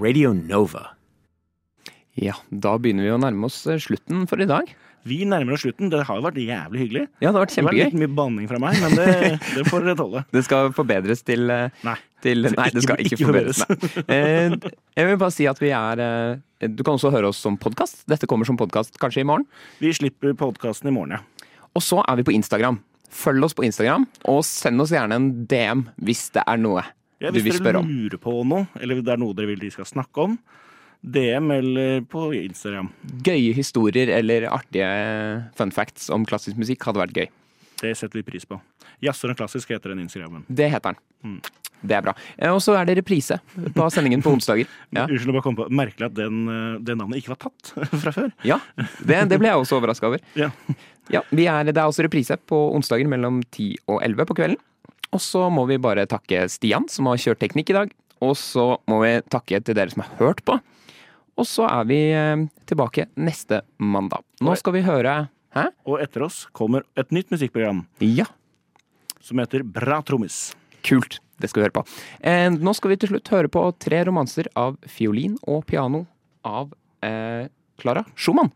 [SPEAKER 3] Radio Nova.
[SPEAKER 1] Ja, da begynner vi å nærme oss eh, slutten for i dag.
[SPEAKER 2] Vi nærmer oss slutten. Det har jo vært jævlig hyggelig.
[SPEAKER 1] Ja, det har vært
[SPEAKER 2] Det var litt
[SPEAKER 1] kjempegøy.
[SPEAKER 2] mye banning fra meg, men det, det får dere tåle.
[SPEAKER 1] Det skal forbedres til, eh,
[SPEAKER 2] Nei.
[SPEAKER 1] til Nei, det skal ikke,
[SPEAKER 2] Ikke- ikke
[SPEAKER 1] forbedres. Nei. Eh, Jeg vil bare si at vi er eh, Du kan også høre oss som podkast. Dette kommer som podkast kanskje i morgen.
[SPEAKER 2] Vi slipper podkasten i morgen, ja.
[SPEAKER 1] Og så er vi på Instagram. Følg oss på Instagram, og send oss gjerne en DM hvis det er noe
[SPEAKER 2] ja
[SPEAKER 1] du
[SPEAKER 2] hvis
[SPEAKER 1] vil
[SPEAKER 2] dere
[SPEAKER 1] spørre om.
[SPEAKER 2] lurer på noe, eller det er noe dere vil de skal snakke om, DM eller på Instagram.
[SPEAKER 1] Gøye historier eller artige eh, fun facts om klassisk musikk hadde vært gøy.
[SPEAKER 2] Det setter vi pris på. Jazzer og klassisk heter den Instagrammen.
[SPEAKER 1] Det heter den.
[SPEAKER 2] Mm.
[SPEAKER 1] Det er bra. Eh, Og så er det reprise på sendingen på onsdager. Ja,
[SPEAKER 2] Unnskyld, jeg bare kom på. Merkelig at den, eh, det navnet ikke var tatt fra før.
[SPEAKER 1] ja det, det ble jeg også overraska over.
[SPEAKER 2] Ja.
[SPEAKER 1] Ja, vi er, Det er også reprise på onsdager mellom 10 og 11 på kvelden. Og så må vi bare takke Stian, som har kjørt teknikk i dag. Og så må vi takke til dere som har hørt på. Og så er vi eh, tilbake neste mandag. Nå skal vi høre Hæ?
[SPEAKER 2] Og etter oss kommer et nytt musikkprogram
[SPEAKER 1] Ja,
[SPEAKER 2] som heter Bra trommis.
[SPEAKER 1] kult. Det skal vi høre på. Eh, nå skal vi til slutt høre på tre romanser av fiolin og piano av Klara eh, Clara Schumann.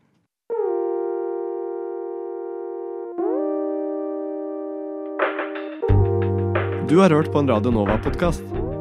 [SPEAKER 5] Du har hørt på en Radio Nova-podkast.